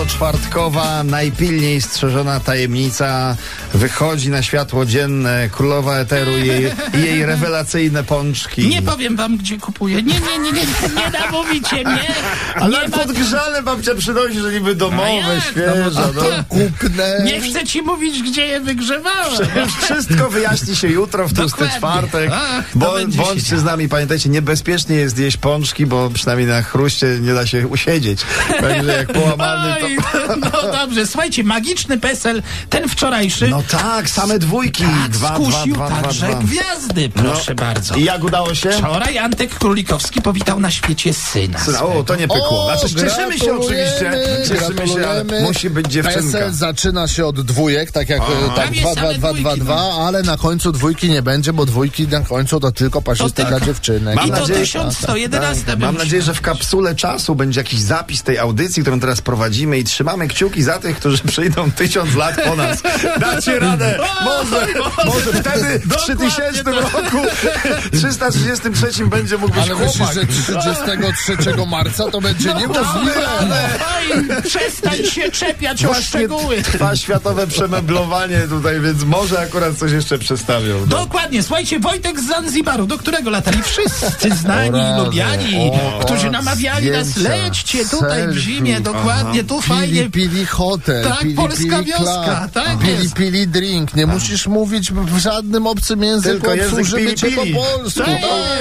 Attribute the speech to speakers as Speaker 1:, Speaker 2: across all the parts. Speaker 1: Tłustoczwartkowa, najpilniej strzeżona tajemnica wychodzi na światło dzienne. Królowa Eteru i jej, i jej rewelacyjne pączki.
Speaker 2: Nie powiem wam, gdzie kupuję. Nie, nie, nie, nie, nie, nie namówicie mnie.
Speaker 1: Ale
Speaker 2: nie, ma-
Speaker 1: podgrzane babcia przynosi, że niby domowe,
Speaker 2: A jak?
Speaker 1: świeże. No.
Speaker 3: Kupnę.
Speaker 2: nie chcę ci mówić, gdzie je wygrzewałem.
Speaker 1: Wszystko wyjaśni się jutro w tłusty
Speaker 2: Dokładnie.
Speaker 1: czwartek.
Speaker 2: Ach, to
Speaker 1: Bo,
Speaker 2: będzie się
Speaker 1: bądźcie
Speaker 2: działo.
Speaker 1: z nami, pamiętajcie, niebezpiecznie jest jeść pączki, bo przynajmniej na chruście nie da się usiedzieć. Także jak połamany to...
Speaker 2: Oj, no dobrze, słuchajcie, magiczny PESEL, ten wczorajszy,
Speaker 1: No tak, same dwójki.
Speaker 2: tak
Speaker 1: Dwa,
Speaker 2: skusił
Speaker 1: dwa, dwa, dwa,
Speaker 2: także
Speaker 1: dwa. No.
Speaker 2: gwiazdy, proszę bardzo.
Speaker 1: I jak udało się?
Speaker 2: Wczoraj Antek Królikowski powitał na świecie syna.
Speaker 1: O, to nie pykło.
Speaker 3: O,
Speaker 1: Znaczy, cieszymy się
Speaker 3: gratulujemy,
Speaker 1: oczywiście. Cieszymy się, ale
Speaker 3: gratulujemy.
Speaker 1: musi być dziewczynka.
Speaker 3: PESEL zaczyna się od dwójek, tak jak e, tak
Speaker 2: Tam jest
Speaker 3: 2, 2,
Speaker 2: same
Speaker 3: 2, 2,
Speaker 2: dwójki, no.
Speaker 3: 2, ale na końcu dwójki nie będzie, bo dwójki na końcu to tylko parzyste
Speaker 2: tak.
Speaker 3: dla dziewczynek.
Speaker 2: I
Speaker 1: Mam
Speaker 2: to
Speaker 1: nadzieję-
Speaker 2: 1111
Speaker 1: Tak,
Speaker 2: był.
Speaker 1: Mam nadzieję, że w kapsule czasu będzie jakiś zapis tej audycji, którą teraz prowadzimy i trzymamy kciuki za tych, którzy przyjdą tysiąc lat po nas. Dacie radę! Może, może wtedy w 3000 roku, 333 będzie mógł być
Speaker 3: tak. Ale myślisz,
Speaker 1: chłopak.
Speaker 3: że 33 marca to będzie
Speaker 2: No
Speaker 3: niemożliwe.
Speaker 2: tak. Oj, przestań się czepiać o
Speaker 1: Właśnie
Speaker 2: szczegóły.
Speaker 1: trwa światowe przemeblowanie tutaj, więc może akurat coś jeszcze przestawią. No.
Speaker 2: Dokładnie, słuchajcie, Wojtek z Zanzibaru, do którego latali wszyscy znani i
Speaker 3: Orany,
Speaker 2: lubiani,
Speaker 3: o,
Speaker 2: którzy namawiali nas,
Speaker 3: zdjęcia,
Speaker 2: lećcie tutaj w
Speaker 3: selfie,
Speaker 2: zimie, dokładnie, tu
Speaker 3: Pili,
Speaker 2: fajnie.
Speaker 3: pili hotel,
Speaker 2: Tak,
Speaker 3: pili,
Speaker 2: polska
Speaker 3: pili
Speaker 2: wioska,
Speaker 3: club,
Speaker 2: tak
Speaker 3: pili,
Speaker 2: jest.
Speaker 3: pili drink. Nie musisz mówić w żadnym obcym języku,
Speaker 1: Tak. Tylko język
Speaker 3: obsłużymy
Speaker 1: pili,
Speaker 3: cię po
Speaker 1: pili.
Speaker 3: polsku.
Speaker 2: Tak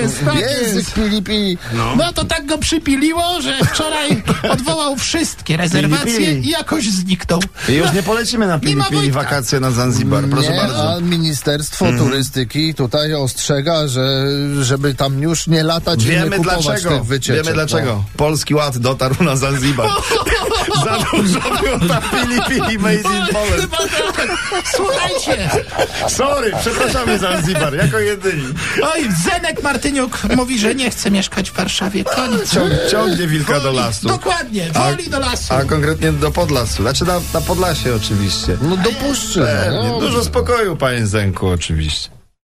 Speaker 2: jest, tak
Speaker 3: Język
Speaker 2: jest.
Speaker 3: pili, pili.
Speaker 2: No to tak go przypiliło, że wczoraj odwołał wszystkie rezerwacje
Speaker 1: Pili, pili.
Speaker 2: i jakoś zniknął.
Speaker 1: I już nie polecimy na
Speaker 2: ma
Speaker 1: Filipiny
Speaker 2: Wojtka.
Speaker 1: wakacje na Zanzibar, proszę
Speaker 3: nie,
Speaker 1: bardzo. Mhm.
Speaker 3: A Ministerstwo Turystyki tutaj ostrzega, że żeby tam już nie latać i
Speaker 1: Wiemy
Speaker 3: nie kupować
Speaker 1: dlaczego.
Speaker 3: tych wycieczek. no.
Speaker 1: Wiemy dlaczego. Polski Ład dotarł na Zanzibar. Za dużo było tam pili, pili, made in
Speaker 2: Oj,
Speaker 1: Poland.
Speaker 2: chyba tak. Słuchajcie,
Speaker 1: Sorry, przepraszamy Zanzibar, jako jedyni.
Speaker 2: oj, Zenek Martyniuk mówi, że nie chce mieszkać w Warszawie. Koniec.
Speaker 1: Ciąg, ciągnie wilka do lasu.
Speaker 2: Dokładnie, woli do lasu.
Speaker 1: A konkretnie do Podlasu. Znaczy na, na Podlasie oczywiście.
Speaker 3: No. No dopuszczę.
Speaker 1: Pewnie.
Speaker 3: no.
Speaker 1: Dużo spokoju, panie Zenku, oczywiście.